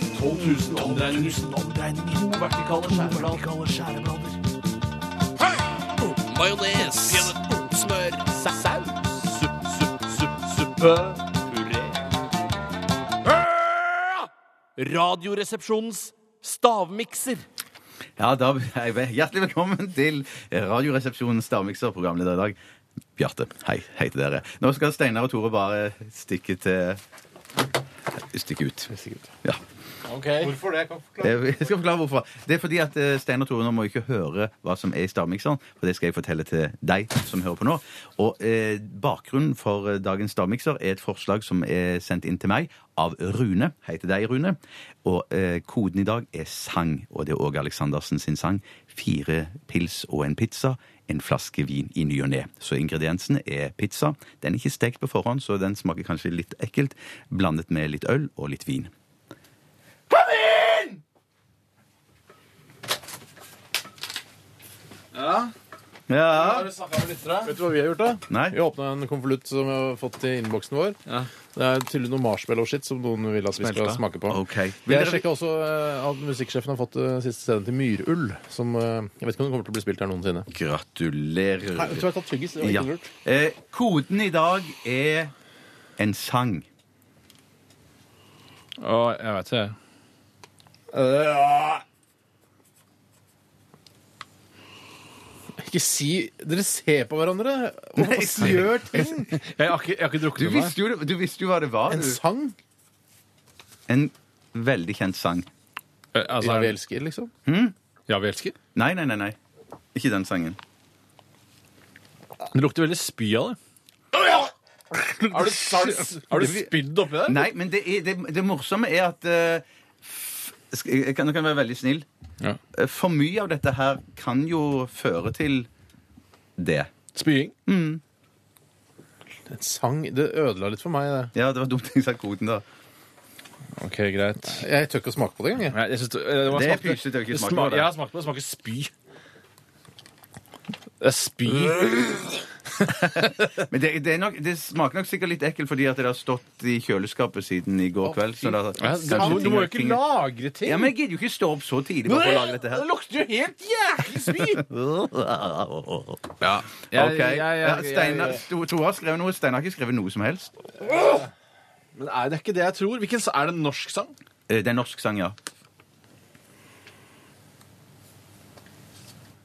1000 omdreininger. 1000 omdreininger. To vertikale skjæreblader. skjæreblader. Majones. Smør. Saus. Supp, supp, supp, suppe. Puré. Radioresepsjonens stavmikser. Ja, da er jeg ve- Hjertelig velkommen til Radioresepsjonens stavmikser, programleder i dag. Bjarte, hei. Hei til dere. Nå skal Steinar og Tore bare stikke til Stikke ut. Ja. Hvorfor det? Jeg kan forklare. Jeg skal forklare hvorfor. Det er fordi at eh, Steinar Tore nå må ikke høre hva som er i stavmikseren, for det skal jeg fortelle til deg som hører på nå. Og eh, bakgrunnen for eh, dagens stavmikser er et forslag som er sendt inn til meg av Rune. Hei til deg, Rune. Og eh, koden i dag er sang, og det er Åge Aleksandersen sin sang. Fire pils og en pizza. En flaske vin i ny og ne. Så ingrediensene er pizza. Den er ikke stekt på forhånd, så den smaker kanskje litt ekkelt. Blandet med litt øl og litt vin. Ja. Vet du hva vi har gjort, da? Nei. Vi har åpna en konvolutt som vi har fått i innboksen vår. Det er tydeligvis noe marshmallow-shit som noen vil at vi skal Smelta. smake på. Ok. Vil Jeg dere- sjekka også eh, at musikksjefen har fått eh, siste CD-en til Myrull. Som eh, Jeg vet ikke om den kommer til å bli spilt her noensinne. Gratulerer. Nei, jeg tror jeg har tatt tyggis. Det var Ja. ikke lurt. Eh, koden i dag er en sang. Å, jeg vet ikke. Ikke si Dere ser på hverandre og gjør ting! Jeg har ikke, jeg har ikke Du drukket med meg. visste jo, det- du visste jo hva det var. En du. sang? En veldig kjent sang. Eh, Altså, Ja, vi er det- elsker, liksom. ja, vi elsker. Nei, nei, nei. nei. Ikke den sangen. Det lukter veldig spy av det. Har du, har du, har du spydd oppi der? Nei, men det, er, det, det morsomme er at eh, f- skal- jeg kan, Nå kan jeg være veldig snill. Ja. Eh, For mye av dette her kan jo føre til det. Spying? En sang Det ødela litt for meg, det. Ja, det var dumt jeg sa koden, da. OK, greit. Jeg tør ikke å smake på det engang. jeg. Nei, jeg synes det, eh, det, var- Det er smakte- pysete å ikke det smake sma- på det. Jeg har smakt på det. Det smaker spy. Det er spy. Men det, det, er nok, det smaker nok sikkert litt ekkelt fordi at det har stått i kjøleskapet siden i går kveld. Så da, Ja, du, du, du må jo ikke lagre ting. Ja, men jeg gidder jo ikke stå opp så tidlig bare for å lage dette her. Det lukter jo helt jæklig spy! Ja, jeg- ok. jeg- jeg- Ja, Steinar Sto- Tore har skrevet noe. Steinar har ikke skrevet noe som helst. Men er det ikke det jeg tror? Hvilken, er det en norsk sang? Eh, Det er en norsk sang, ja.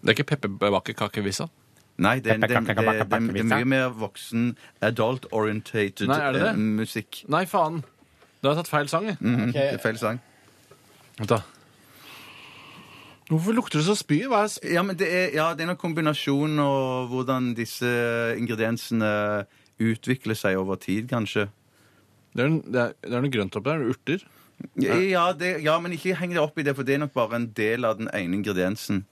Det er ikke pepperkakevisa? Nei, det, er- det, er- det, er- det, er- det er mye mer voksen, adult-orientated Nei, er det det? eh, musikk. Nei, faen. Da har jeg tatt feil sang. jeg. Mm, det er feil sang. Vent da. Hvorfor lukter det så spy? Hva er spy? Ja, men det er, ja, det er noen kombinasjon og hvordan disse ingrediensene utvikler seg over tid, kanskje. Det er, en- det er, det er noe grønt oppi der. det er Urter. Eh, Ja, det, ja, men ikke heng deg opp i det, for det er nok bare en del av den ene ingrediensen.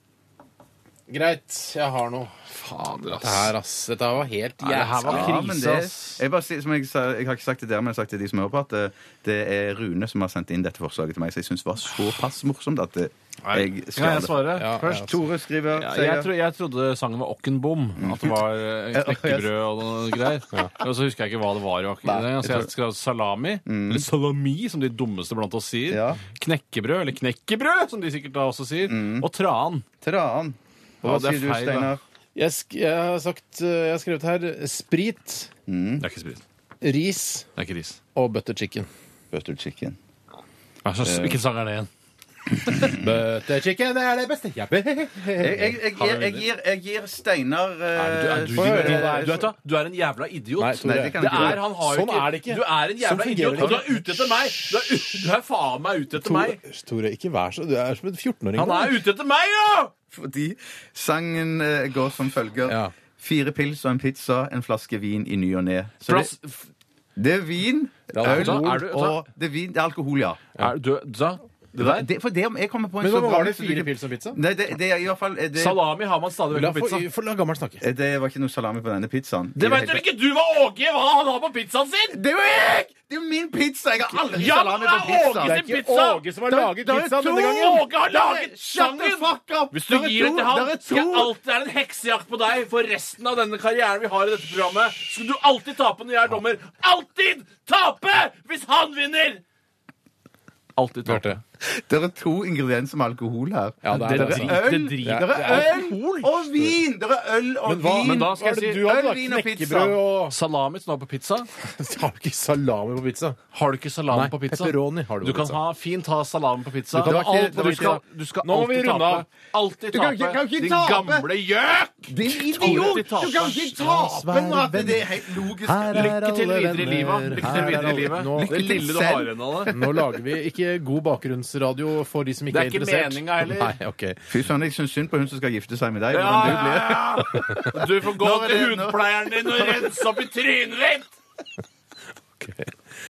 Greit, jeg har noe. Fader, ass. Det her, ass. Dette var helt Nei, det her var jævla Ja, men krise, det, ass. jeg, bare, sier- som jeg, sa, jeg har ikke sagt det der, men jeg har sagt til de som hører på, at det, det er Rune som har sendt inn dette forslaget til meg, så jeg syns det var såpass morsomt at det, jeg Kan jeg skal det. svare Ja, først? ja. Tore skriver Ja, sier- jeg, tro, jeg trodde sangen var Okkenbom. At det var eh, knekkebrød og noe greier. Og så husker jeg ikke hva det var. i Okken- Så jeg skrev salami. Eller salami, som de dummeste blant oss sier. Ja. Knekkebrød, eller knekkebrød, som de sikkert da også sier. Mm. Og tran. Tran. Og hva Ja, det er sier du, feil, da. Steinar? Jeg, sk jeg har sagt eh, Jeg har skrevet her sprit, Det er ikke sprit. ris Det er ikke ris. og butter chicken. Butter chicken. Hva slags- Hvilken sang er det igjen? Mm. Butter chicken er det beste jeg vet. Jeg, jeg, jeg, gir- jeg, gir, jeg gir Steinar eh, du, Få høre, du, hva er det du, vet hva? du er en jævla idiot. Nei, Tore. Nei, det kan jeg Det ikke er, gjøre. han har jo Sånn er det ikke. Du er Sånn en jævla fungerer idiot, det og du ikke. er ute etter meg! Du er, u- du er faen meg ute etter meg! Tore, Tore, ikke vær så Du er som en 14-åring. Han er ute etter meg, ja! Fordi sangen eh, går som følger. Ja. Fire pils og en pizza, en flaske vin i ny og ne. Så det, Plass, det er vin, er øl alkohol. Er du- og det er, vin, det er alkohol, ja. er, du, da, det der? Det, for det om jeg kommer på en Men hva så var gammel- det? Fire pils og pizza? Nei, det, det er i hvert fall eh, det, Salami har man stadig La, vekk på få, pizza. få, la gammel snakke. Eh, det var ikke noe salami på denne pizzaen. Det vet vel ikke du hva Åge hva han har på pizzaen sin?! Det er jo jeg! Det er jo min pizza! Jeg har aldri Ja, salami men på det pizza. er Åge sin pizza! som har Da- laget da er pizzaen to! denne gangen. Åge har laget Shut the sangen! fuck up! Hvis du Der er to- gir det til der han, er to! skal jeg alltid er det en heksejakt på deg for resten av denne karrieren vi har i dette programmet. Skal du alltid tape når jeg er dommer? Alltid tape hvis han vinner! Alltid tape. Bjarte. Det er to ingredienser med alkohol her. Ja, det er Dere det. øl, Det driter- dere det er øl alkohol. og vin! Dere øl og Men hva, vin! men da skal hva er jeg det si- du hadde? Øl, da? vin og pizza. Knekkebrød og Salami som du har på pizza. Har du ikke salami på pizza? Har du ikke salami Nei, på pizza? pepperoni har du Du på kan pizza. ha fint ha salami på pizza. Du kan Du, ikke- alt, det du, var skal, ikke- du skal Nå må vi alltid runde tape. av. Alltid Du kan ikke- kan ikke tape. Din tape! gamle gjøk! Din idiot! Du kan ikke tape nå at det er helt logisk. Lykke til videre i livet. Lykke til videre i livet. Nå, Det lille du har igjen av det. nå lager vi ikke god bakgrunnsradio for de som ikke Det er, er ikke interessert. meninga heller. Nei, ok. Fy søren, jeg syns synd på hun som skal gifte seg med deg. Ja, hvordan du ja, blir. ja. Du får gå Nå er til det- nå- hudpleieren din og rense opp i trynet ditt! Ok.